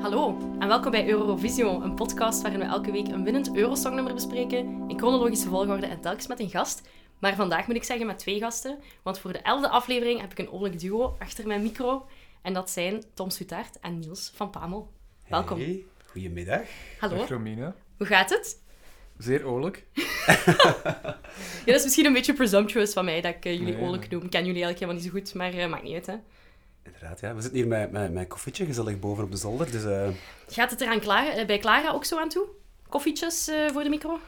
Hallo en welkom bij Eurovisio, een podcast waarin we elke week een winnend Eurosongnummer bespreken, in chronologische volgorde en telkens met een gast. Maar vandaag moet ik zeggen met twee gasten, want voor de elfde aflevering heb ik een oorlijk duo achter mijn micro. En dat zijn Tom Sutaert en Niels van Pamel. Welkom. Hey, goedemiddag. Hallo, Dag Romina. hoe gaat het? Zeer oorlijk. Ja, dat is misschien een beetje presumptuous van mij dat ik eh, jullie Nee, oorlijk noem. Ik ken jullie eigenlijk helemaal niet zo goed, maar eh, maakt niet uit. Hè. Inderdaad, ja. We zitten hier met, met mijn koffietje gezellig boven op de zolder. Dus eh, Gaat het er aan Clara, eh, bij Clara ook zo aan toe? Koffietjes eh, voor de micro? Oké.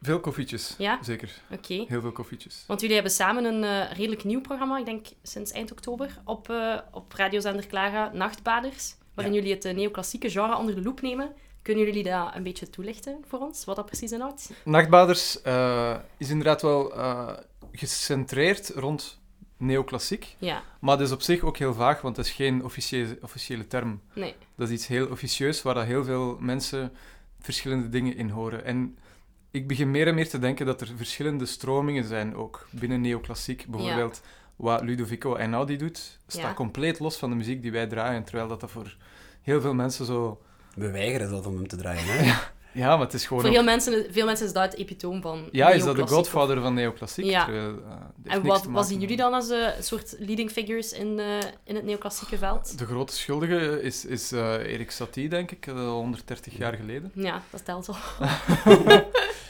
Veel koffietjes. Ja? Zeker. Heel veel koffietjes. Want jullie hebben samen een eh, redelijk nieuw programma, ik denk sinds eind oktober, op, eh op radiozender Clara, Nachtbaders, waarin jullie het eh, neoclassieke genre onder de loep nemen. Kunnen jullie dat een beetje toelichten voor ons, wat dat precies inhoudt? Nachtbaders eh, is inderdaad wel eh, gecentreerd rond neoclassiek. Ja, Maar dat is op zich ook heel vaag, want dat is geen officiële, officiële term. nee. Dat is iets heel officieus waar dat heel veel mensen verschillende dingen in horen. En ik begin meer en meer te denken dat er verschillende stromingen zijn ook binnen neoclassiek. Bijvoorbeeld wat Ludovico Einaudi doet, staat Ja. compleet los van de muziek die wij draaien. Terwijl dat, dat voor heel veel mensen zo... we weigeren dat om hem te draaien. Hè? Ja, maar het is gewoon Voor heel mensen, veel mensen is dat het epitoom van Ja, is dat de neoclassiek. godfather van neoclassiek? Ja. Terwijl, eh, dat heeft En niks wat, te wat maken zien met- jullie dan als eh, een soort leading figures in, eh, in het neoclassieke veld? De grote schuldige is, is eh, Erik Satie, denk ik, eh, al 130 jaar geleden. Ja, dat telt al.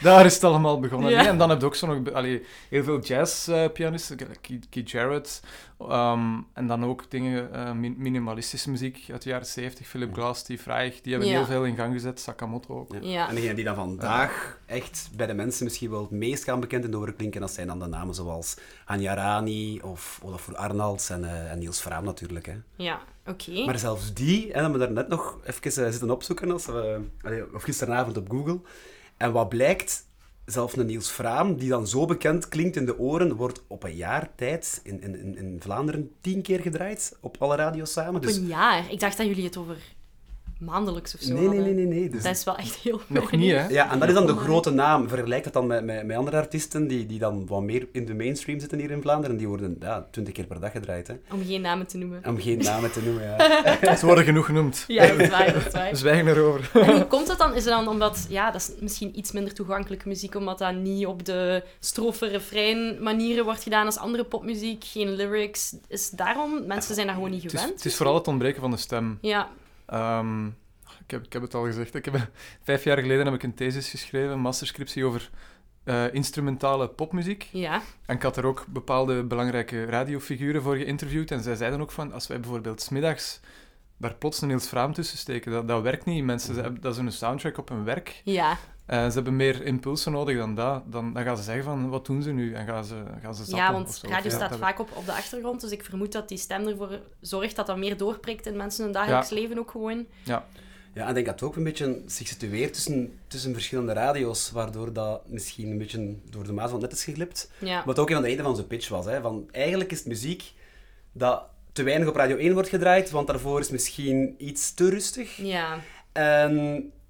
Daar is het allemaal begonnen. Ja. nee. En dan heb je ook zo nog be- allee, heel veel jazzpianisten, Keith Keith Jarrett. ehm, en dan ook dingen, eh, min- minimalistische muziek uit de jaren 70. Philip Glass, die Freyg, die hebben Ja. heel veel in gang gezet. Sakamoto ook. Ja. Ja. En degene die dan vandaag echt bij de mensen misschien wel het meest gaan bekend in de oren klinken, dat zijn dan de namen zoals Anja Rani of Olafur Arnalds en, eh, en Niels Fraam natuurlijk. Hè. Ja, oké. Maar zelfs die, en hebben we daarnet nog even eh, zitten opzoeken, als we, allee, of gisteravond op Google. En wat blijkt, zelfs een Niels Fraam, die dan zo bekend klinkt in de oren, wordt op een jaar tijd in, in, in, in Vlaanderen tien keer gedraaid, op alle radio's samen. Op Dus, een jaar. Ik dacht dat jullie het over maandelijks of zo nee, nee, hadden. nee, nee. nee. Dus, Dat is wel echt heel Nog niet, hè? ja, en dat is dan de Amai. grote naam. Vergelijk dat dan met, met, met andere artiesten die, die dan wat meer in de mainstream zitten hier in Vlaanderen. Die worden ja, twintig keer per dag gedraaid, hè. Om geen namen te noemen. Om geen namen te noemen, ja. Ze worden genoeg genoemd. Ja, dat is waar, dat is waar. We zwijgen erover. En hoe komt dat dan? Is het dan omdat, ja, dat is misschien iets minder toegankelijke muziek, omdat dat niet op de strofe, refrein manieren wordt gedaan als andere popmuziek, geen lyrics. Is daarom, mensen zijn daar gewoon dus niet Het is, gewend. het is vooral het ontbreken van de stem. Ja, Ehm, ik, heb, ik heb het al gezegd. Ik heb, vijf jaar geleden heb ik een thesis geschreven, een masterscriptie over eh, instrumentale popmuziek. ja, En ik had er ook bepaalde belangrijke radiofiguren voor geïnterviewd. En zij zeiden ook van, als wij bijvoorbeeld smiddags daar plots een Niels Fraam tussen steken, dat, dat werkt niet. Mensen, ze hebben- dat is een soundtrack op hun werk. ja. Eh, ze hebben meer impulsen nodig dan dat. Dan, dan gaan ze zeggen van, wat doen ze nu? En gaan ze, gaan ze zappen ja, of want zo. radio Ja, staat dat- vaak op, op de achtergrond, dus ik vermoed dat die stem ervoor zorgt dat dat meer doorprikt in mensen hun dagelijks leven ook gewoon. Ja, en ik denk dat het ook een beetje zich situeert tussen, tussen verschillende radio's, waardoor dat misschien een beetje door de maat van het net is geglipt. Ja, Wat ook een van de redenen van zijn pitch was. Hè, van, eigenlijk is het muziek dat te weinig op Radio 1 wordt gedraaid, want daarvoor is misschien iets te rustig. ja. En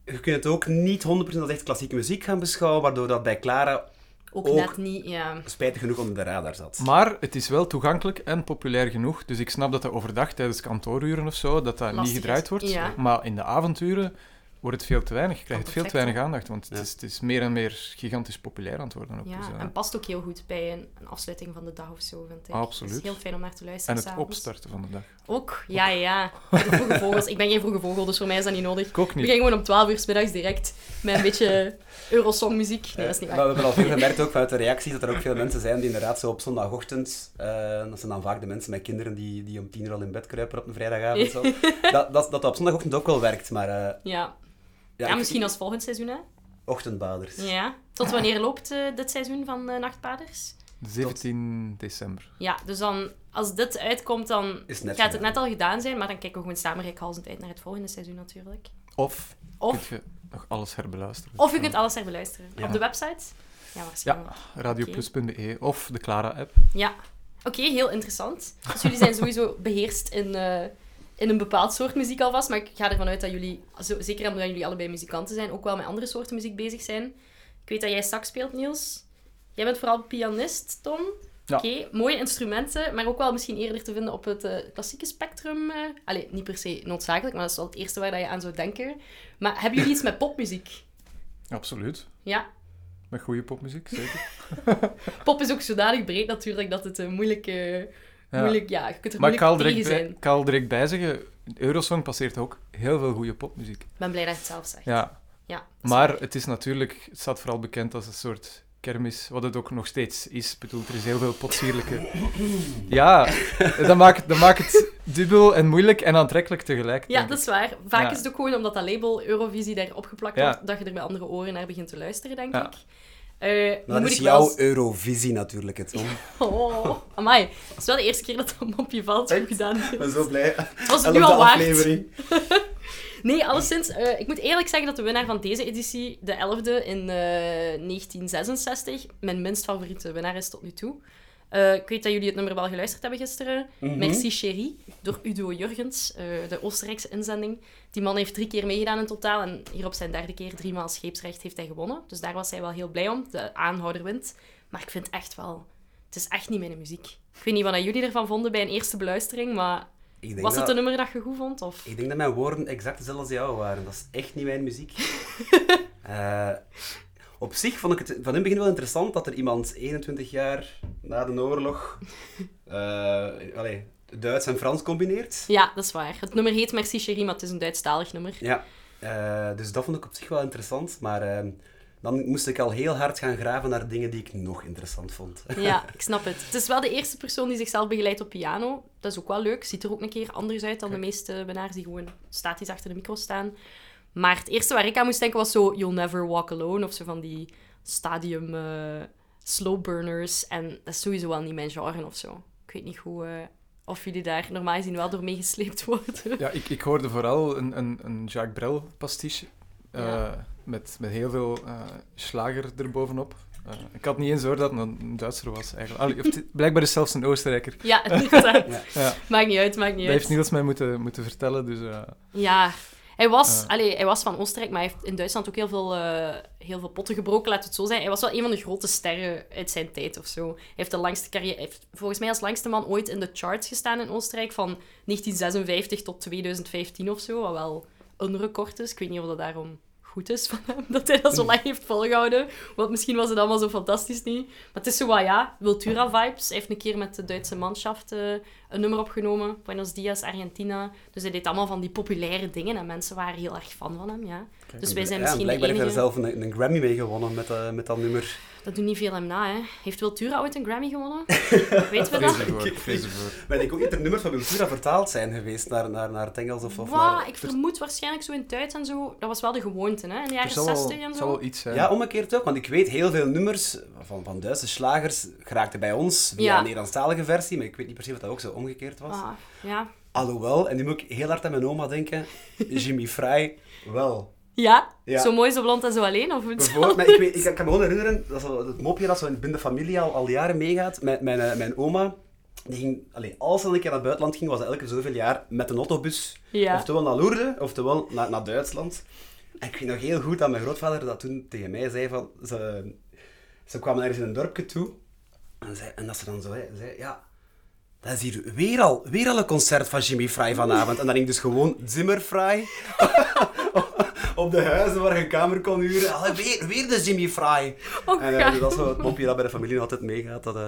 je kunt het ook niet 100% als echt klassieke muziek gaan beschouwen, waardoor dat bij Clara Ook, Ook- net niet, ja. spijtig genoeg onder de radar zat. Maar het is wel toegankelijk en populair genoeg. Dus ik snap dat dat overdag tijdens kantooruren of zo, dat dat Lastig niet is, gedraaid wordt. ja. Oh, Maar in de avonduren wordt het veel te weinig. Krijgt het veel te perfect, weinig aandacht. Want het, Ja. is, het is meer en meer gigantisch populair aan het worden. Ook, dus, Ja, eh, en past ook heel goed bij een, een afsluiting van de dag of zo, vind ik. Absoluut. Het is heel fijn om naar te luisteren en het s'avonds. opstarten van de dag. Ook, ja, ja, ja. Voor de vroege vogels. Ik ben geen vroege vogel, dus voor mij is dat niet nodig. Ik ook We niet. gaan gewoon om 12 uur 's middags direct met een beetje Eurosong-muziek. Nee, dat is niet Eh, waar. Maar we hebben al veel gemerkt ook vanuit de reacties dat er ook veel mensen zijn die inderdaad zo op zondagochtend, eh, dat zijn dan vaak de mensen met kinderen die, die om tien uur al in bed kruipen op een vrijdagavond, zo, dat, dat, dat dat op zondagochtend ook wel werkt, maar... eh, Ja. ja, ja, ik- misschien als volgend seizoen, hè? Ochtendbaders. Ja. Tot wanneer loopt eh, dit seizoen van eh, Nachtpaders? 17 december. Ja, dus dan, als dit uitkomt, dan Is net gaat het gedaan. net al gedaan zijn, maar dan kijken we gewoon samenreikhalsend uit naar het volgende seizoen natuurlijk. Of, Of, kun je nog alles herbeluisteren. of je kunt alles er beluisteren. Ja. Op de website? Ja, waarschijnlijk. Ja, radioplus.be of de Clara-app. Ja. Oké, heel interessant. Dus jullie zijn sowieso beheerst in, eh, in een bepaald soort muziek alvast. Maar ik ga ervan uit dat jullie, zo- zeker omdat jullie allebei muzikanten zijn, ook wel met andere soorten muziek bezig zijn. Ik weet dat jij sax speelt, Niels. Jij bent vooral pianist, Tom. Ja. Oké, mooie instrumenten, maar ook wel misschien eerder te vinden op het eh, klassieke spectrum. eh. Allee, niet per se noodzakelijk, maar dat is wel het eerste waar dat je aan zou denken. Maar hebben jullie iets met popmuziek? Absoluut. Ja, Met goede popmuziek, zeker. pop is ook zodanig breed natuurlijk dat het eh, moeilijk, eh, Ja. moeilijk... Ja, je kunt er Maar ik moeilijk kan er tegen direct, bij, zijn. ik kan er direct bij zeggen, Eurosong passeert ook heel veel goede popmuziek. Ik ben blij dat je het zelf zegt. Ja, Ja, dat is maar het is natuurlijk, het staat vooral bekend als een soort kermis, wat het ook nog steeds is. Ik bedoel, er is heel veel potsierlijke... Ja, dat maakt, dat maakt het dubbel en moeilijk en aantrekkelijk tegelijk. Ja, denk dat ik. is waar. Vaak Ja. is het ook gewoon omdat dat label Eurovisie daar opgeplakt Ja. wordt, dat je er bij andere oren naar begint te luisteren, denk Ja. ik. Eh, Dan moet is ik wel jouw z- Eurovisie natuurlijk het, Tom. Oh, amai. Het is wel de eerste keer dat dat mopje valt. Goed gedaan. Ik ben zo blij. Het was het nu al waard. Nee, alleszins. eh, ik moet eerlijk zeggen dat de winnaar van deze editie, de 11e in eh, 1966, mijn minst favoriete winnaar is tot nu toe. Eh, ik weet dat jullie het nummer wel geluisterd hebben gisteren. Mhm. Merci Chérie, door Udo Jurgens, eh, de Oostenrijkse inzending. Die man heeft drie keer meegedaan in totaal en hier op zijn derde keer, driemaal scheepsrecht, heeft hij gewonnen. Dus daar was hij wel heel blij om. De aanhouder wint. Maar ik vind echt wel... Het is echt niet mijn muziek. Ik weet niet wat jullie ervan vonden bij een eerste beluistering, maar Ik denk, was het dat, een nummer dat je goed vond? Of? ik denk dat mijn woorden exact dezelfde als jou waren. Dat is echt niet mijn muziek. Eh, op zich vond ik het van in het begin wel interessant dat er iemand 21 jaar na de oorlog eh, allee, Duits en Frans combineert. Ja, dat is waar. Het nummer heet Merci Chérie, maar het is een Duitsstalig nummer. Ja, eh, dus dat vond ik op zich wel interessant, maar eh, dan moest ik al heel hard gaan graven naar dingen die ik nog interessant vond. Ja, ik snap het. Het is wel de eerste persoon die zichzelf begeleidt op piano. Dat is ook wel leuk. Ziet er ook een keer anders uit dan de meeste winnaars die gewoon statisch achter de micro staan. Maar het eerste waar ik aan moest denken was zo You'll Never Walk Alone of zo van die stadium eh, slow burners. En dat is sowieso wel niet mijn genre of zo. Ik weet niet hoe, eh, of jullie daar normaal gezien wel door meegesleept worden. Ja, ik, ik hoorde vooral een, een, een Jacques Brel pastiche. eh, Ja. met, met heel veel eh, slager erbovenop. Eh, ik had niet eens hoor dat het een Duitser was eigenlijk. Allee, of het- blijkbaar is zelfs een Oostenrijker. Ja, inderdaad. Ja, Maakt niet uit, maakt niet dat uit. heeft Niels mij moeten, moeten vertellen. Dus, eh, Ja, hij was, Eh. allee, hij was van Oostenrijk, maar hij heeft in Duitsland ook heel veel, eh, heel veel potten gebroken, laat het zo zijn. Hij was wel een van de grote sterren uit zijn tijd of zo. Hij heeft de langste carrière, hij heeft volgens mij als langste man ooit in de charts gestaan in Oostenrijk, van 1956 tot 2015 of zo, wat wel een record is. Ik weet niet of dat daarom goed is van hem, dat hij dat zo lang heeft volgehouden. Want misschien was het allemaal zo fantastisch niet. Maar het is zo wat, ja, Wiltura-vibes. Hij heeft een keer met de Duitse manschaft eh, een nummer opgenomen. Buenos Dias, Argentina. Dus hij deed allemaal van die populaire dingen. En mensen waren heel erg fan van hem, ja. Dus wij zijn Ja, misschien de Blijkbaar heeft enige... hij er zelf een, een Grammy mee gewonnen met, eh, met dat nummer. Dat doet niet veel hem na, hè. Heeft Wiltura ooit een Grammy gewonnen? Weet we dat? vrees ervoor, vrees ervoor. Maar ik denk ook niet dat er nummers van Wiltura vertaald zijn geweest naar, naar, naar het Engels of, of Wa, naar... ik vermoed waarschijnlijk zo in Duits en zo. Dat was wel de gewoonte, hè. In de Er jaren zal wel, 60 en zo. zal wel iets eh, zijn. Ja, omgekeerd ook, want ik weet heel veel nummers van, van Duitse slagers geraakten bij ons via Ja. een Nederlandstalige versie, maar ik weet niet precies of dat ook zo omgekeerd was. Ah, ja. Alhoewel, en nu moet ik heel hard aan mijn oma denken, Jimmy Fry wel. Ja? Ja. Zo mooi, zo blond en zo alleen? Of Bijvoorbeeld, maar ik, weet, ik, ik kan me gewoon herinneren, dat is al het mopje dat zo in- binnen de familie al, al jaren meegaat. Mijn, mijn, eh, mijn oma, die ging, allee, als ze een keer naar het buitenland ging, was dat elke zoveel jaar met een autobus. Ja. Oftewel naar Lourdes, oftewel naar, naar Duitsland. En ik weet nog heel goed dat mijn grootvader dat toen tegen mij zei van... Ze, ze kwamen ergens in een dorpje toe en, zei, en dat ze dan zo hè, zei, ja... Dat is hier weer al, weer al een concert van Jimmy Fry vanavond. En dan ging dus gewoon Zimmer Fry op de huizen waar je een kamer kon huren. Allee, weer, weer de Jimmy Fry. Oh, en eh, ja. dus dat is wel het mopje dat bij de familie nog altijd meegaat. Dat, eh,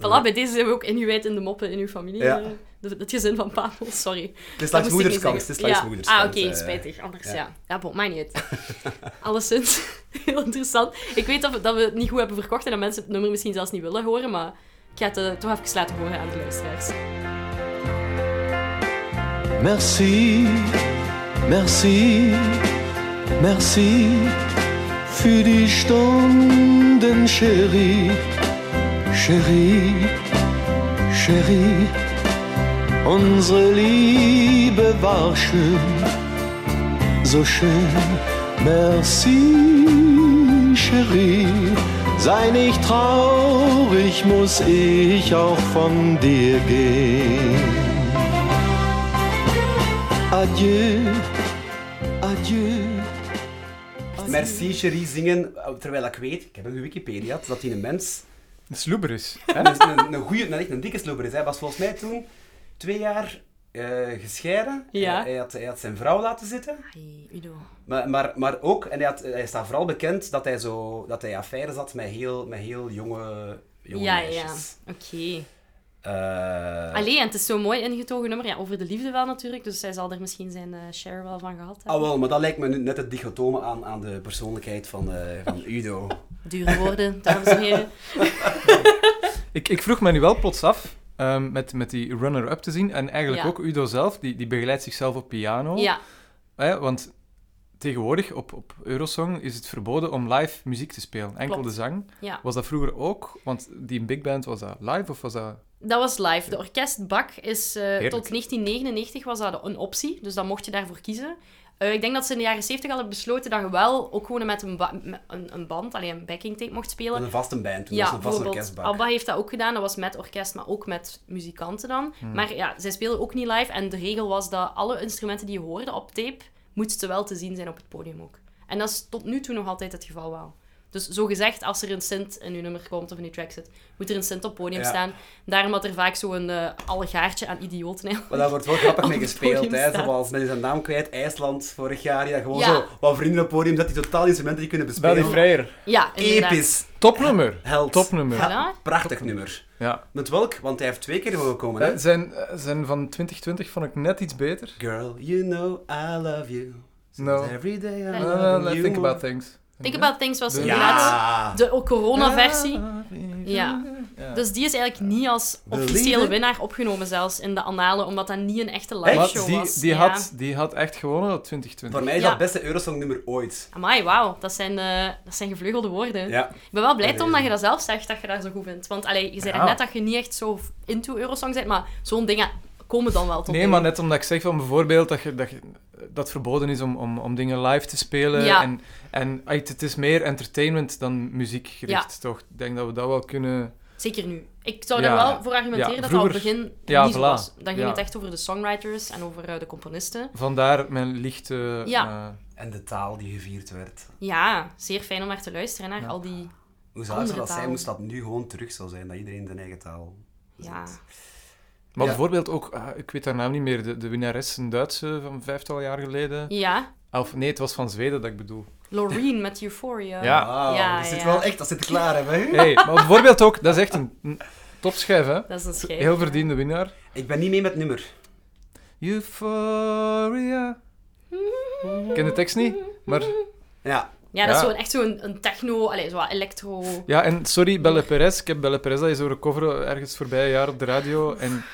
dat- Voilà, bij deze zijn we ook ingewijd in de moppen in uw familie. Ja. eh, de- het gezin van Pavel, sorry. Het is Dat langs moest ik niet moederskant. Het zeggen. is langs ja. moederskant. Ah, oké, eh. spijtig. Anders, ja. ja. Ja, bon, maakt niet uit. Alleszins, heel interessant. Ik weet dat we, dat we het niet goed hebben verkocht en dat mensen het nummer misschien zelfs niet willen horen, maar ik ga het eh, toch even laten horen aan de luisteraars. Merci, merci, merci für die Stunden, Chérie, Chérie, Chérie. Unsere Liebe war schön, so schön. Merci, Chérie, sei nicht traurig, muss ich auch von dir gehen. Adieu, adieu. Oh, Merci, chérie, zingen. Terwijl ik weet, ik heb een Wikipedia, dat die een mens Een sloeber is. Hè, dat is een, een goeie, een, echt een dikke sloeber is. Hij was volgens mij toen twee jaar eh, gescheiden. Ja. Hij, hij had, hij had zijn vrouw laten zitten. Ai, Udo. Maar, maar, maar ook, en hij, had, hij staat vooral bekend dat hij, zo, dat hij affaires had met heel, met heel jonge, jonge Ja, ja. meisjes. Oké. Eh, Allee, en het is zo'n mooi ingetogen nummer. Ja, over de liefde wel natuurlijk. Dus hij zal er misschien zijn eh, share wel van gehad Ah, hebben. wel, maar dat lijkt me nu net het dichotome aan, aan de persoonlijkheid van, eh, van Udo. Dure woorden, dames en heren. Ik, ik vroeg me nu wel plots af, ehm, met, met die runner-up te zien, en eigenlijk Ja. ook Udo zelf, die, die begeleidt zichzelf op Oh. piano. Ja, Hè, Ah want tegenwoordig op, op Eurosong is het verboden om live muziek te spelen, enkel Klopt. de zang. ja. Was dat vroeger ook? Want die big band, was dat live of was dat... Dat was live. De orkestbak is eh, Heerlijk. tot 1999 was dat een optie, dus dan mocht je daarvoor kiezen. Eh, ik denk dat ze in de jaren 70 hadden besloten dat je wel ook gewoon met een, ba- met een, een band, alleen een backing tape, mocht spelen. Met een vaste band, toen ja, was een vaste bijvoorbeeld Ah, orkestbak. Abba heeft dat ook gedaan. Dat was met orkest, maar ook met muzikanten dan. Hmm. Maar ja, zij speelden ook niet live. En de regel was dat alle instrumenten die je hoorde op tape, moesten wel te zien zijn op het podium ook. En dat is tot nu toe nog altijd het geval wel. Dus zo gezegd, als er een synth in uw nummer komt of in uw track zit, moet er een synth op het podium Ja. staan. Daarom had er vaak zo'n eh allegaartje aan idioten. eigenlijk. Maar daar wordt wel grappig Op mee het gespeeld, podium hè. staat. Zoals, men is zijn naam kwijt, IJsland, vorig jaar. Ja, gewoon Ja. zo, wat vrienden op het podium, dat die totaal instrumenten die kunnen Buddy bespelen. Freyer. Ja, inderdaad. Episch, Topnummer. held. Topnummer. Ja. Voilà. Prachtig nummer. Met welk? Want hij heeft twee keer mogen komen, hè. Eh, Zijn, eh, zijn van 2020 vond ik net iets beter. Girl, you know I love you. Since No. Every day I Eh, No, love no, you. no, think about things. Think About Things was Ja. inderdaad Ja! de corona-versie. Ja. Ja. Dus die is eigenlijk niet als officiële Believe it. winnaar opgenomen, zelfs in de annalen, omdat dat niet een echte Maar live Echt? show die, was. die, ja. had, die had echt gewonnen op 2020. Voor mij is Ja. dat beste Eurosong nummer ooit. Amai, wauw, dat, zijn, eh, dat zijn gevleugelde woorden. Ja. Ik ben wel blij, Dat Tom, is- dat je dat zelf zegt, dat je dat zo goed vindt. Want allee, je zei Ja. net dat je niet echt zo into Eurosong bent, maar zo'n dingen komen dan wel tot Nee, door. maar net omdat ik zeg van bijvoorbeeld dat je, dat, je, dat verboden is om, om, om dingen live te spelen. Ja. En, en uit- het is meer entertainment dan muziekgericht, toch? Ik denk dat we dat wel kunnen. Zeker nu. Ik zou Ja. daar wel voor argumenteren Ja, dat dat al vroeger- begin Ja, niet zo voilà. was. Dan ging Ja. het echt over de songwriters en over eh, de componisten. Vandaar mijn lichte. Ja. eh, En de taal die gevierd werd. Ja, zeer fijn om naar te luisteren, naar Ja. al die... Hoe zou dat Andere zijn, taal. moest dat nu gewoon terug zo zijn, dat iedereen zijn eigen taal... Ja. maar Ja. bijvoorbeeld ook, ah, ik weet haar naam niet meer, de, de winnares, een Duitse van vijftal jaar geleden. Ja, Of nee, het was van Zweden dat ik bedoel. Loreen met Euphoria. Ja. Wauw, Ah. Ja, dat zit ja. wel echt, dat zit klaar, hè. bij u? hey, maar bijvoorbeeld ook, dat is echt een, een topschijf, hè? Dat is een schijf. Heel verdiende winnaar. Ik ben niet mee met het nummer. Euphoria. Ik ken de tekst niet, maar Ja, Ja, dat is Ja. zo'n- echt zo'n een techno, allez, zo wat electro. Ja, en sorry, Belle Perez. Ik heb Belle Perez al eens horen coveren ergens voorbij een jaar op de radio. En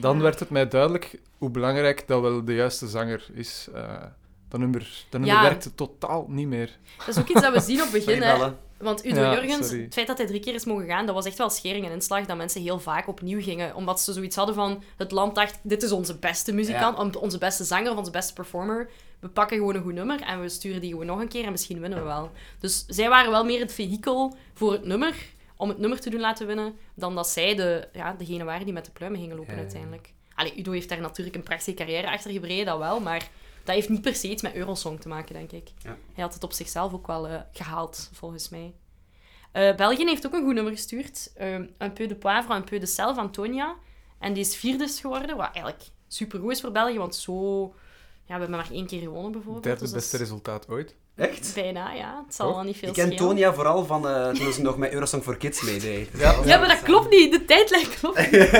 dan werd het mij duidelijk hoe belangrijk dat wel de juiste zanger is. Eh, dat nummer, dat nummer Ja. werkte totaal niet meer. Dat is ook iets dat we zien op het begin. sorry, hè. Belle. Want Udo Ja, Jurgens, sorry. het feit dat hij drie keer is mogen gaan, dat was echt wel schering en inslag dat mensen heel vaak opnieuw gingen. Omdat ze zoiets hadden van, het land dacht, dit is onze beste muzikant, on- onze beste zanger of onze beste performer. We pakken gewoon een goed nummer en we sturen die gewoon nog een keer en misschien winnen we wel. Dus zij waren wel meer het vehikel voor het nummer, om het nummer te doen laten winnen, dan dat zij de, ja, degene waren die met de pluimen gingen lopen Ja. uiteindelijk. Allee, Udo heeft daar natuurlijk een prachtige carrière achter gebreden, dat wel, maar dat heeft niet per se iets met Eurosong te maken, denk ik. Ja. Hij had het op zichzelf ook wel eh, gehaald, volgens mij. Eh, België heeft ook een goed nummer gestuurd. Ehm un peu de poivre, un peu de sel van Tonia. En die is vierde geworden, wat eigenlijk supergoed is voor België, want zo... Ja, we hebben maar één keer gewonnen, bijvoorbeeld. Derde dus dat beste is resultaat ooit. Echt? Bijna, ja. Het zal Toch? wel niet veel Ik ken schelen. Tonia vooral van eh, toen ze nog met Eurosong for Kids meedeed. Ja, maar dat klopt niet. De tijdlijn klopt niet.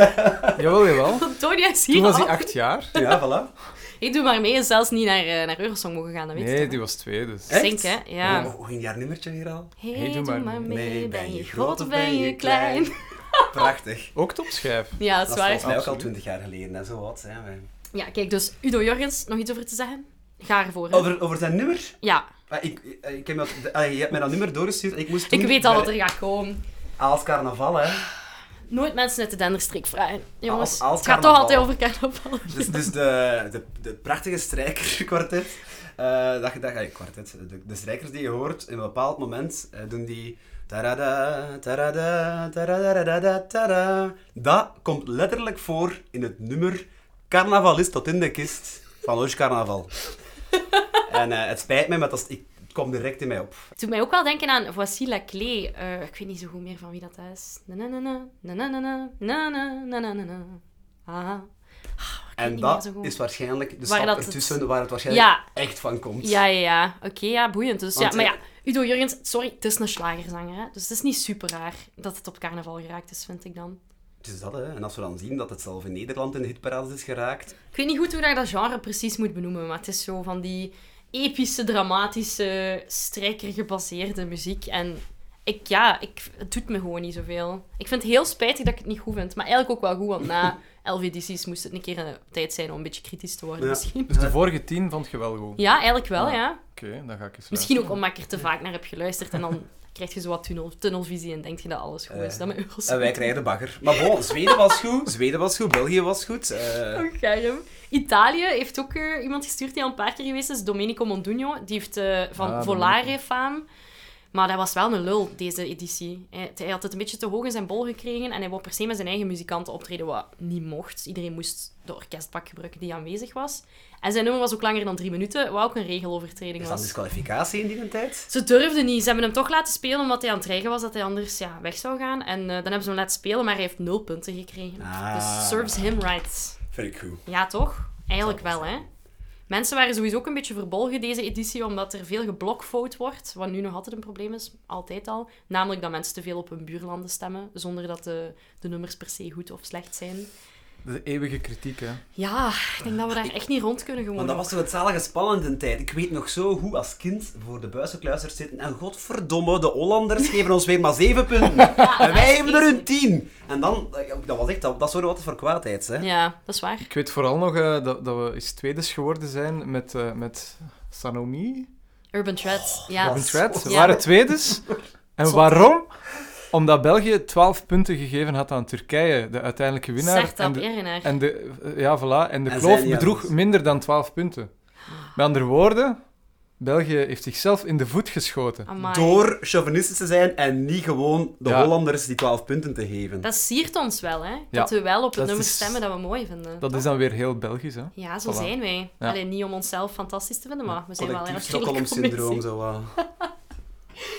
Jawel, jawel. want Tonia is Toen hier was al. hij acht jaar. Ja, voilà. Ik doe maar mee. Is zelfs niet naar, eh, naar Eurosong mogen gaan, dat weet Nee, ik. die was twee, dus. Echt? Zink, hè? Ja. Hoe- Hoe ging haar nummertje weer al? Hey, Hey, doe maar mee. Nee, Ben je groot of ben je klein? Prachtig. Ook topschijf. Ja, dat Dat is is waar. volgens mij ook al Absoluut. twintig jaar geleden en zo wat. Hè. wij. Ja, kijk, dus Udo Jorgens, nog iets over te zeggen? Ga ervoor. Hè? Over, over zijn nummer? Ja, Ah, Ik, ik, ik heb dat, ah, je hebt mij dat nummer doorgestuurd. en Ik, moest toen ik weet al wat bij er gaat komen. Aals Carnaval, hè. Nooit mensen uit de Denderstreek vragen. Jongens, Als- als het gaat toch altijd carnaval. over carnaval. Dus, dus de, de, de prachtige strijkerkwartet. eh dat, je- dat, eh, kwartet de, de strijkers die je hoort, in een bepaald moment eh, doen die... Tarada, tarada, tarada, tarada. Dat komt letterlijk voor in het nummer Carnaval is tot in de kist van Lush Carnaval. en eh, het spijt me, maar dat is, ik, het kwam direct in mij op. Het doet mij ook wel denken aan Voici la clé. Eh, ik weet niet zo goed meer van wie dat is. Na na na na, na na na na, na na na na na na. Ah. Ah, ik weet En niet meer dat zo goed. is waarschijnlijk de Waar stap dat het- ertussen waar het waarschijnlijk Ja. echt van komt. Ja, ja, ja. Oké, ja, boeiend. Dus, Want, ja, maar eh, ja, Udo Jurgens, sorry, het is een slagerzanger. Hè? Dus het is niet super raar dat het op carnaval geraakt is, vind ik dan. Het is dat, hè. En als we dan zien dat het zelf in Nederland in de hitparades is geraakt. Ik weet niet goed hoe dat je dat genre precies moet benoemen, maar het is zo van die epische, dramatische, strijkergebaseerde muziek. En ik, ja, ik, het doet me gewoon niet zoveel. Ik vind het heel spijtig dat ik het niet goed vind, maar eigenlijk ook wel goed, want na elf edities moest het een keer een tijd zijn om een beetje kritisch te worden Ja. misschien. Dus de vorige tien vond je wel goed. Ja, eigenlijk wel, Ja. ja. Oké, dan ga ik eens Misschien ook omdat luisteren. ik er te vaak naar heb geluisterd en dan krijg je zo wat tunnel, tunnelvisie en denk je dat alles goed is. Eh, dat met euro's. En wij krijgen de bagger. Maar bon, Zweden was goed. Zweden was goed. België was goed. eh, Oh, Germ. Italië heeft ook eh, iemand gestuurd die al een paar keer geweest is, Domenico Mondugno. Die heeft eh, van Ah, Volare faam. Maar dat was wel een lul, deze editie. Hij, hij had het een beetje te hoog in zijn bol gekregen en hij wou per se met zijn eigen muzikanten optreden, wat niet mocht. Iedereen moest de orkestbak gebruiken die aanwezig was. En zijn nummer was ook langer dan drie minuten, wat ook een regelovertreding is dat was. een disqualificatie in die tijd? Ze durfden niet. Ze hebben hem toch laten spelen omdat hij aan het dreigen was dat hij anders ja, weg zou gaan. En eh, dan hebben ze hem laten spelen, maar hij heeft nul punten gekregen. Ah. Dus serves him right. Vind ik goed. Ja, toch? Eigenlijk Zou wel, wel hè? Mensen waren sowieso ook een beetje verbolgen deze editie, omdat er veel geblokvoot wordt, wat nu nog altijd een probleem is, altijd al. Namelijk dat mensen te veel op hun buurlanden stemmen, zonder dat de, de nummers per se goed of slecht zijn. De eeuwige kritiek, hè. Ja, ik denk dat we daar echt niet rond kunnen gewoon. Want dat was toch het zalige spannende tijd. Ik weet nog zo hoe als kind voor de buizenkluisters zitten. En godverdomme, de Hollanders geven ons weer maar zeven punten. en wij hebben er een tien. En dan, eh, dat was echt, dat, dat soort wat voor kwaadheid. Hè? Ja, dat is waar. Ik weet vooral nog eh, dat, dat we eens tweedes geworden zijn met, eh, met Sanomi. Urban Threads. ja. Van Thread. We Ja. waren tweedes. En Zot. waarom? Omdat België 12 punten gegeven had aan Turkije, de uiteindelijke winnaar. en Sertab de, Erenaar. en de, eh, ja, voilà. En de En zij kloof niet bedroeg anders. minder dan 12 punten. Met andere woorden, België heeft zichzelf in de voet geschoten. Amai. Door chauvinisten te zijn en niet gewoon de Ja. Hollanders die 12 punten te geven. Dat siert ons wel, hè? Dat Ja, we wel op het dat nummer is- stemmen dat we mooi vinden. Dat is dan weer heel Belgisch, hè? Ja, zo Voilà. zijn wij. Ja. Alleen niet om onszelf fantastisch te vinden, maar we zijn wel Collectief eigenlijk Stockholm-syndroom, commissie. zo wat.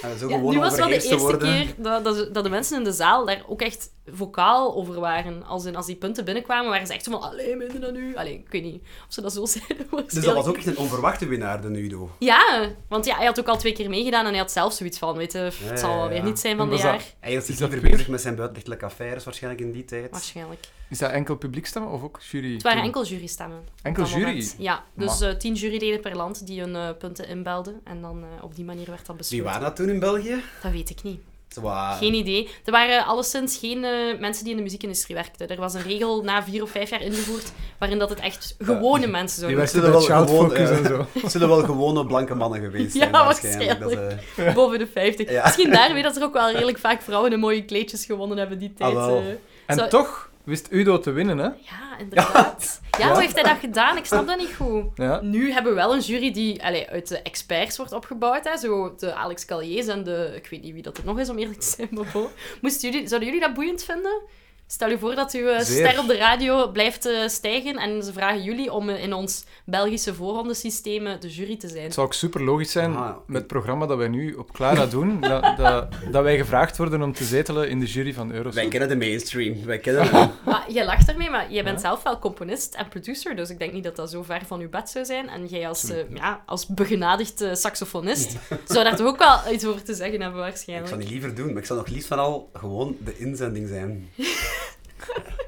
En zo Ja, gewoon nu was wel de overheerst eerste te worden. keer dat, dat, dat de mensen in de zaal daar ook echt vocaal over waren. Als, in, als die punten binnenkwamen, waren ze echt zo van, alleen minder dan u. Allee, ik weet niet of ze dat zo zeiden. maar Dus dat heel- was ook echt een onverwachte winnaar, de Nudo. Ja, want ja, hij had ook al twee keer meegedaan en hij had zelf zoiets van, weet je, pff, Ja, het zal wel ja, weer ja. niet zijn van En dit was jaar. dat- Hij is Is niet dat meer weer- bezig met zijn buitenrechtelijke affaires, waarschijnlijk in die tijd. Waarschijnlijk. Is dat enkel publiekstemmen of ook jury? Het waren enkel jurystemmen. op Enkel dat jury? moment. Ja, dus Maar- eh, tien juryleden per land die hun eh, punten inbelden. En dan eh, op die manier werd dat Dus Wie besloten. waren dat toen in België? Dat weet ik niet. Zo wat- Geen idee. Er waren alleszins geen eh, mensen die in de muziekindustrie werkten. Er was een regel na vier of vijf jaar ingevoerd waarin dat het echt gewone mensen Die zouden werd Zullen bij wel Child gewoon, Focus eh, en zo. Het zullen wel gewone blanke mannen geweest Ja, zijn, waarschijnlijk. Dat, waarschijnlijk. eh, doen. boven de 50. Ja. Misschien daarmee dat er ook wel redelijk vaak vrouwen in mooie kleedjes gewonnen hebben die tijd. Ah, wel. eh. En Zou- toch wist Udo te winnen, hè? Ja, inderdaad. Ja, hoe heeft hij dat gedaan? Ik snap dat niet goed. Ja. Nu hebben we wel een jury die allee, uit de experts wordt opgebouwd. Hè? Zo de Alex Calliers en de... Ik weet niet wie dat het nog is, om eerlijk te zijn, maar bon. Moesten jullie, zouden jullie dat boeiend vinden? Stel je voor dat uw eh, Zeer. ster op de radio blijft eh, stijgen en ze vragen jullie om eh, in ons Belgische voorrondesysteem eh, de jury te zijn. Het zou ook super logisch zijn Ah. met het programma dat wij nu op Clara doen, dat, dat, dat wij gevraagd worden om te zetelen in de jury van wij Eurosong. kennen de mainstream. Wij kennen hem. Maar jij lacht ermee, maar jij bent Ja. zelf wel componist en producer, dus ik denk niet dat dat zo ver van uw bed zou zijn. En jij als, eh, ja, als begenadigd eh, saxofonist zou daar toch ook wel iets over te zeggen hebben Ik waarschijnlijk. zou niet liever doen, maar ik zou nog liefst van al gewoon de inzending zijn.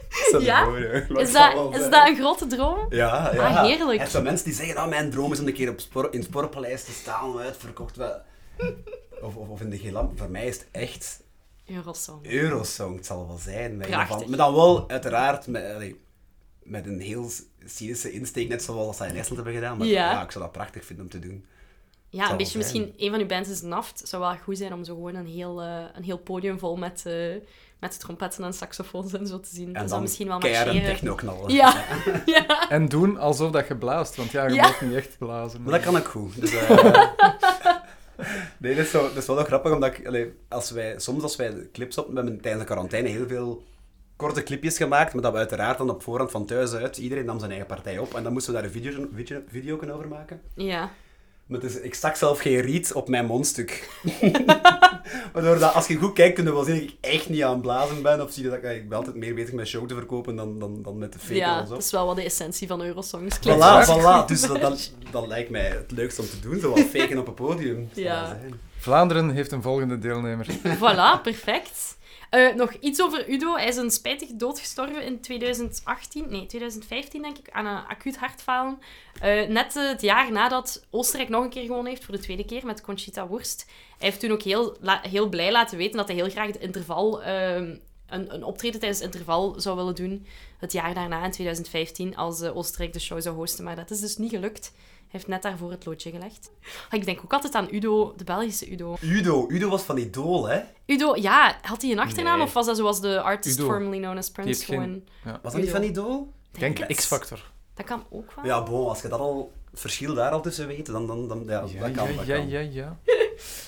Stel je Ja? voor, hè. Wat Is zou wel dat, is zijn? dat een grote droom? Ja, ja. Ah, heerlijk. Er zijn zo mensen die zeggen, ah, mijn droom is om een keer op spoor, in het Sportpaleis te staan, uitverkocht. Wel. Of, of, of in de Gelam. Voor mij is het echt Eurosong. Eurosong, het zal wel zijn. Met een Prachtig. van- maar dan wel, uiteraard, met, allee, met een heel cynische insteek, net zoals zij in Estland hebben gedaan. Maar Ja. ja. ik zou dat prachtig vinden om te doen. Ja, een wel beetje zijn. misschien... Een van uw bands is Naft. Het zou wel goed zijn om zo gewoon een heel, eh, een heel podium vol met, eh, met trompetten en saxofoons en zo te zien. En dat zou dan misschien wel keihard een marcheren. techno knallen. Ja. ja. En doen alsof dat je blaast, want ja, je Ja. mag niet echt blazen. Maar dat kan ook goed. Dus, eh, nee, dat is, zo, dat is wel nog grappig, omdat ik, allee, als wij, soms als wij de clips op, we hebben tijdens de quarantaine heel veel korte clipjes gemaakt, maar dat we uiteraard dan op voorhand van thuis uit, iedereen nam zijn eigen partij op, en dan moesten we daar een video, video, video over maken. Ja. Maar het is, ik stak zelf geen riet op mijn mondstuk. Waardoor dat, als je goed kijkt, kun je wel zien dat ik echt niet aan het blazen ben. Of zie je dat ik, ik ben altijd meer bezig met show te verkopen dan, dan, dan met de fake ja, en zo. dat is wel wat de essentie van Eurosongs. Klinkt Voilà, wel voilà. goed, Dus dat, maar- dat, dat lijkt mij het leukst om te doen, zo wat faken op een podium. Dat Ja. zou zijn. Vlaanderen heeft een volgende deelnemer. Voilà, perfect. Eh, nog iets over Udo. Hij is een spijtig doodgestorven in 2018, nee, 2015 denk ik, aan een acuut hartfalen. Eh, net eh, het jaar nadat Oostenrijk nog een keer gewonnen heeft, voor de tweede keer, met Conchita Wurst. Hij heeft toen ook heel, la- heel blij laten weten dat hij heel graag het interval, ehm, een, een optreden tijdens het interval zou willen doen. Het jaar daarna, in 2015, als eh, Oostenrijk de show zou hosten. Maar dat is dus niet gelukt. Hij heeft net daarvoor het loodje gelegd. Ah, ik denk ook altijd aan Udo, de Belgische Udo. Udo, Udo was van Idool, hè? Udo, ja, had hij een achternaam Nee. of was dat zoals de artist Udo. formerly known as Die heeft Prince? geen- Gewoon... Was dat niet Udo. van Idool? Ik denk het. X-Factor. Dat kan ook wel. Ja, bon, als je dat al, het verschil daar al tussen weet, dan, dan, dan ja, dat kan. ja, dat ja, kan. ja, ja.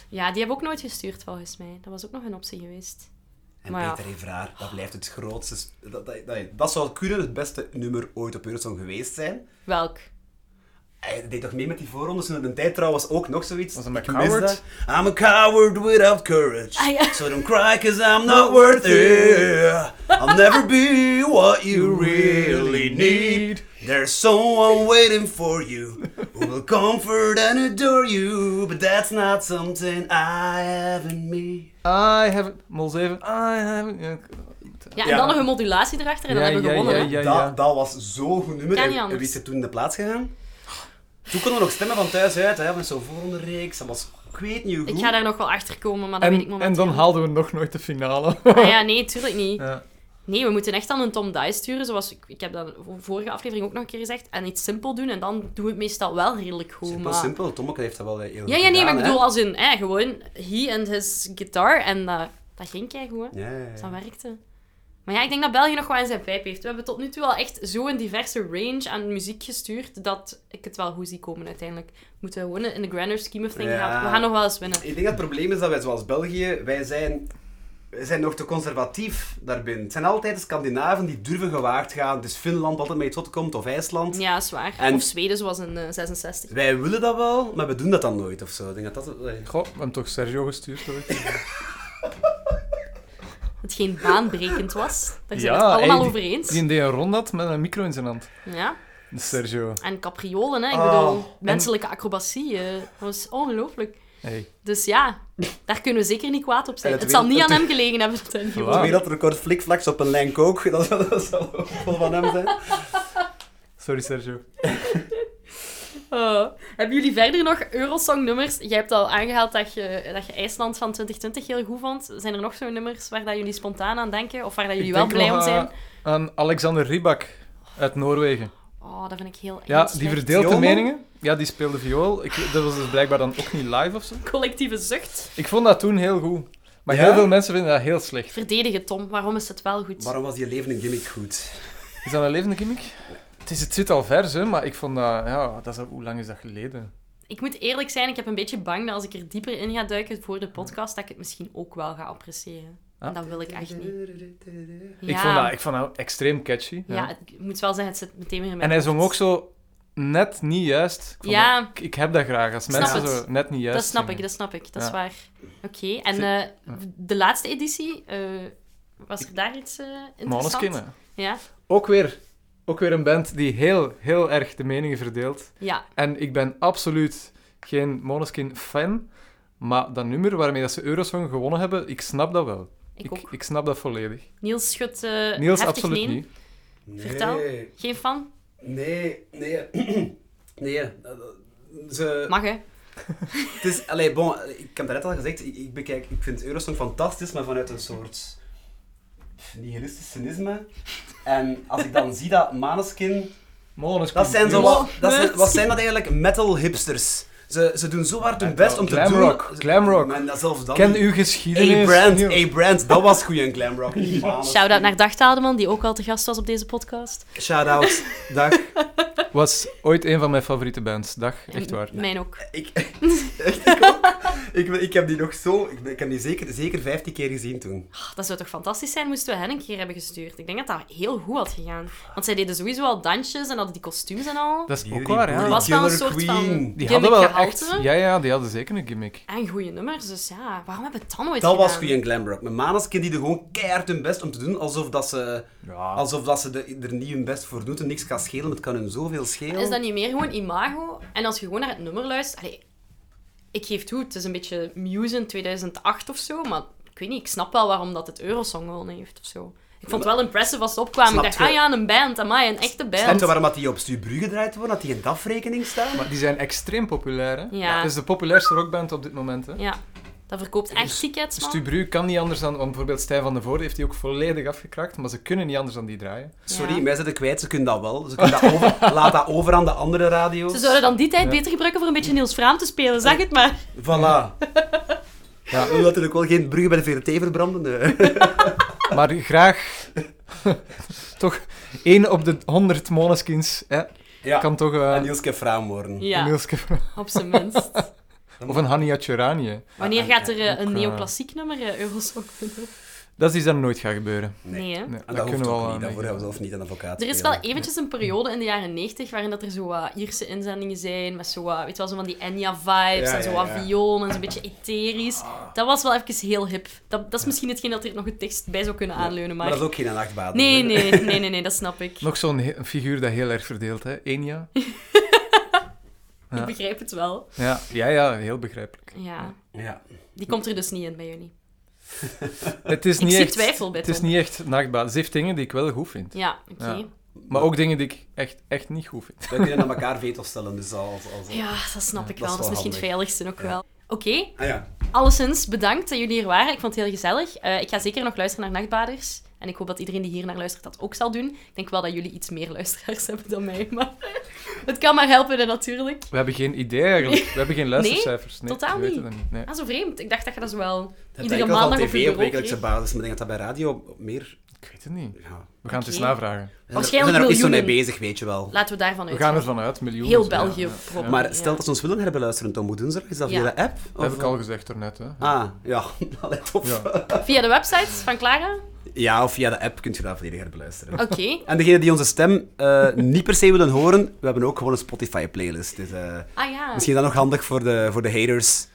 Ja, die hebben ook nooit gestuurd volgens mij. Dat was ook nog een optie geweest. En Maar ja. Peter Evraar, dat blijft het grootste... sp- Dat, dat, dat, dat zou kunnen het beste nummer ooit op Eurosong geweest zijn. Welk? Hij deed toch mee met die voorrondes toen in een tijd trouwens ook nog zoiets. Was dat met Ik mis Coward? dat. I'm a coward without courage. Ah, ja. So don't cry cause I'm not worth it. I'll never be what you really need. There's someone waiting for you who will comfort and adore you. But that's not something I have in me. Ah, I have... Mol 7. I have... Ja, Ja, en Ja. dan nog een modulatie erachter en dan Ja, hebben we ja, gewonnen. ja, hè? ja. Dat, dat was zo'n goed nummer. Kan En- niet en anders. wie is er toen in de plaats gegaan? Toen konden we nog stemmen van thuis uit, hè, met zo'n volgende reeks. Dat was, ik weet niet hoe Ik goed. ga daar nog wel achter komen, maar dat weet ik En, en momenteel dan niet. haalden we nog nooit de finale. Ah, ja, nee, tuurlijk niet. Ja. Nee, we moeten echt dan een Tom Dice sturen, zoals ik, ik heb dat voor- vorige aflevering ook nog een keer gezegd. En iets simpel doen en dan doen we het meestal wel redelijk goed. Simpel, maar... simpel. Tommeke heeft dat wel heel goed Ja, ja, nee, maar gedaan, ik hè. bedoel als in hè, gewoon he and his guitar en dat- dat ging keigoed. hè. Ja, ja, ja. Dus dat werkte. Maar ja, ik denk dat België nog wel in zijn vijp heeft. We hebben tot nu toe wel echt zo'n diverse range aan muziek gestuurd dat ik het wel goed zie komen uiteindelijk. Moeten we gewoon in de grander scheme of things Ja. gaan. We gaan nog wel eens winnen. Ik denk dat het probleem is dat wij, zoals België, wij zijn, wij zijn nog te conservatief daarbinnen. Het zijn altijd de Scandinaven die durven gewaagd gaan. Dus Finland altijd mee tot komt, of IJsland. Ja, zwaar. En- Of Zweden, zoals in eh, 66. Wij willen dat wel, maar we doen dat dan nooit of zo. Ik denk dat dat... eh, Goh, we hebben toch Sergio gestuurd ooit? Het geen baanbrekend was. Daar zijn we Ja, het allemaal hey, over eens. Die deed een rondat met een micro in zijn hand. Ja. Sergio. En capriolen, hè. Ik Oh. bedoel, menselijke acrobatie. eh, dat was ongelooflijk. Hey. Dus ja, daar kunnen we zeker niet kwaad op zijn. En Het, het zal weer- niet aan het- hem gelegen hebben. ten Voilà. jongen. Weer dat record flikflaks op een lijn kook, dat zal, dat zal ook wel van hem zijn. Sorry, Sergio. Oh. Hebben jullie verder nog Eurosong-nummers? Jij hebt al aangehaald dat je, dat je IJsland van 2020 heel goed vond. Zijn er nog zo'n nummers waar dat jullie spontaan aan denken? Of waar dat jullie Ik wel denk blij nog eh, om zijn? aan- Aan Alexander Rybak uit Noorwegen. Oh, dat vind ik heel Ja, heel die slecht. verdeelt de Viool, man? meningen. Ja, die speelde viool. Ik, dat was dus blijkbaar dan ook niet live of zo. Collectieve zucht. Ik vond dat toen heel goed. Maar Ja? heel veel mensen vinden dat heel slecht. Verdedigen, Tom. Waarom is het wel goed? Waarom was die leven een gimmick goed? Is dat een levende gimmick? Het, is, het zit al vers, hè, maar ik vond dat... Ja, dat is, al- hoe lang is dat geleden? Ik moet eerlijk zijn, ik heb een beetje bang dat als ik er dieper in ga duiken voor de podcast, dat ik het misschien ook wel ga appreciëren. En Ah. dat wil ik echt niet. Ik, Ja. vond dat, ik vond dat extreem catchy. Ja. Ja, het- ik moet wel zeggen, het zit meteen weer in mijn en hij hoofd. zong ook zo net niet juist. Ik, vond Ja. dat- ik, ik heb dat graag, als snap mensen het. zo net niet juist Dat snap ik, zingen. dat snap ik. Dat is Ja. waar. Oké, en eh, de laatste editie, eh, was er daar iets eh interessants? Måneskin, hè. Ja. Ook weer, ook weer een band die heel, heel erg de meningen verdeelt. ja, En ik ben absoluut geen Måneskin-fan, maar dat nummer waarmee dat ze Eurosong gewonnen hebben, ik snap dat wel. ik, Ik, ook. snap dat volledig. Niels schudt eh Niels, heftig absoluut nee. niet. Vertel. Geen fan? Nee, nee, nee. eh, Ze, Mag, hè? het is, allee, bon, ik heb daarnet al gezegd, ik, ik bekijk, ik vind Eurosong fantastisch, maar vanuit een soort nihilistisch cynisme. En als ik dan zie dat Maneskin... Måneskin. Dat zijn zo Niels. wat... Dat zijn, wat zijn dat eigenlijk? Metal hipsters. Ze, ze doen zo hard hun best om te Glam doen... rock, glam rock. Maar dat zelfs dan... Ken niet. uw geschiedenis. A-Brand, Niels. A-Brand, dat was goeie en glamrock. Shout-out naar Dag Tademan, die ook al te gast was op deze podcast. Shout-out. Dag. Was ooit een van mijn favoriete bands. Dag, echt waar. En Mijn ook. Ik, ik, ook. ik, ben- ik heb die nog zo... Ik, ben- ik heb die zeker, zeker 15 keer gezien toen. Ah, dat zou toch fantastisch zijn, moesten we hen een keer hebben gestuurd. Ik denk dat dat heel goed had gegaan. Want zij deden sowieso al dansjes en hadden die kostuums en al. Dat is ook Jullie waar, booty ja. was wel een killer soort van queen. Die gimmick hadden wel halte. Ja, ja, die hadden zeker een gimmick. En goede nummers, dus ja. Waarom hebben we het dan nooit Dat gedaan? was goeie en glamrock. Mijn maneskin die er gewoon keihard hun best om te doen, alsof dat ze, Ja. alsof dat ze de- er niet hun best voor doet en niks gaat schelen. maar Het kan hun zoveel schelen. Is dat niet meer gewoon imago? En als je gewoon naar het nummer luistert... Allee, ik geef toe, het is een beetje Muse in 2008 of zo, maar ik weet niet, ik snap wel waarom dat het Eurosong gewonnen heeft of zo. Ik vond het wel impressive als ze opkwamen. Ik Snap dacht, je? ah ja, een band, amai, een echte Snap band. je waarom dat die op Stu Brugge gedraaid worden? Dat die in DAF-rekening staan? Maar die zijn extreem populair, hè? Ja. Het is de populairste rockband op dit moment, hè? Ja, dat verkoopt echt tickets, man. Stu Bru kan niet anders dan... Want bijvoorbeeld Stijn van de Voorde heeft die ook volledig afgekraakt, maar ze kunnen niet anders dan die draaien. Sorry, Ja. wij zijn er kwijt. Ze kunnen dat wel. Ze kunnen dat over, laat dat over aan de andere radio's. Ze zouden dan die tijd beter gebruiken voor een beetje Niels Fraam te spelen, zeg het maar. Voilà. Ja, omdat er ook wel geen bruggen bij de VRT verbranden. eh. Maar graag... toch één op de 100 Måneskins, hè? Ja. Kan toch... eh, En Niels Kefraam worden. Ja, een Niels Ke- op zijn minst. Of een Hania Tjoranië. Wanneer gaat er eh, een eh, neoclassiek nummer, eh, Eurosong? vinden? Dat is iets dat nooit gaat gebeuren. Nee. Nee, hè? Nee, En dat, hoeft kunnen we eh, ook al niet. Daarvoor hebben we aan zelf niet een advocaat. Er is wel spelen. eventjes een periode in de jaren 90 waarin dat er zo wat Ierse inzendingen zijn, met zo wat, weet je wel, zo van die Enya-vibes Ja, en zo ja, wat ja. viool en zo'n beetje etherisch. Dat was wel even heel hip. Dat, dat is misschien hetgeen dat er nog het dichtst bij zou kunnen aanleunen, maar... Maar dat is ook geen nachtbaden. Nee, nee, nee, nee, nee, dat snap ik. Nog zo'n he- figuur dat heel erg verdeelt, hè? Enya? ja. Ik begrijp het wel. Ja, ja, ja heel begrijpelijk. Ja, Ja. die komt er dus niet in bij jullie. Het is Ik niet zie echt, twijfel bij Het is Tom. niet echt nachtbaat. Ze heeft dingen die ik wel goed vind. Ja, oké. Ja. Maar ook dingen die ik echt, echt niet goed vind. We kunnen aan elkaar veto stellen, dus als... als... Ja, dat snap ik dat wel. is Dat is wel misschien het handig. veiligste ook wel. Oké, Ah ja. Alleszins, bedankt dat jullie hier waren. Ik vond het heel gezellig. Eh, ik ga zeker nog luisteren naar Nachtbaders. En ik hoop dat iedereen die hier naar luistert dat ook zal doen. Ik denk wel dat jullie iets meer luisteraars hebben dan mij. Maar het kan maar helpen, hè, natuurlijk. We hebben geen idee eigenlijk. We hebben geen luistercijfers. Nee, totaal we weten niet. dat niet. Nee. Ah, zo vreemd. Ik dacht dat je dat zo wel Dat iedere eigenlijk al maandag op tv je op bureau wekelijkse kreeg. basis, maar ik denk dat dat bij radio op meer... Ik weet het niet. Ja. We gaan het eens Oké. navragen. We zijn er ook niet zo mee miljoenen. bezig, weet je wel. Laten we daarvan We uit. gaan ervan uit, miljoenen. Heel Ja, België ja. proppen. Maar Ja. stel dat ze ons willen herbeluisteren, Tom, hoe doen ze dat? Is dat via Ja. de app? Dat heb Of- ik al gezegd daarnet. Hè. Ah, ja. Allee, top. Ja. Via de website van Clara. Oké. Ja, of via de app kunt je dat volledig herbeluisteren. En degenen die onze stem eh, niet per se willen horen, we hebben ook gewoon een Spotify-playlist. Dus, eh, Ah ja. misschien is dat nog handig voor de, voor de haters,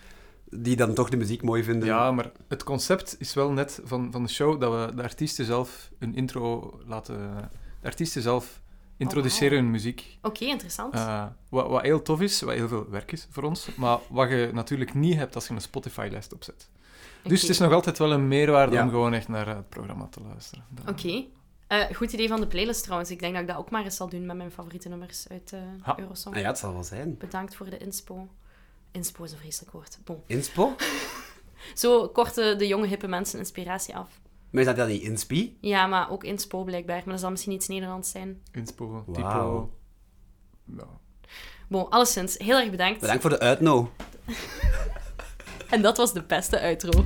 die dan toch de muziek mooi vinden. Ja, maar het concept is wel net van, van de show dat we de artiesten zelf een intro laten... De artiesten zelf introduceren hun muziek. Oké, interessant. Eh, wat, wat heel tof is, wat heel veel werk is voor ons, maar wat je natuurlijk niet hebt als je een Spotify-lijst opzet. Dus het is nog altijd wel een meerwaarde Ja. om gewoon echt naar eh, het programma te luisteren. Dat- Oké. Eh, goed idee van de playlist trouwens. Ik denk dat ik dat ook maar eens zal doen met mijn favoriete nummers uit eh Ha. Eurosong. Ah ja, het zal wel zijn. Bedankt voor de inspo. Inspo is een vreselijk woord. Bon. Inspo? Zo korten de jonge hippe mensen inspiratie af. Maar is dat dan niet Inspi? Ja, maar ook inspo blijkbaar. Maar dat zal misschien iets Nederlands zijn. Inspo, typo. Wauw. Ja. Bon, alleszins, heel erg bedankt. Bedankt voor de uitno. En dat was de beste uitro.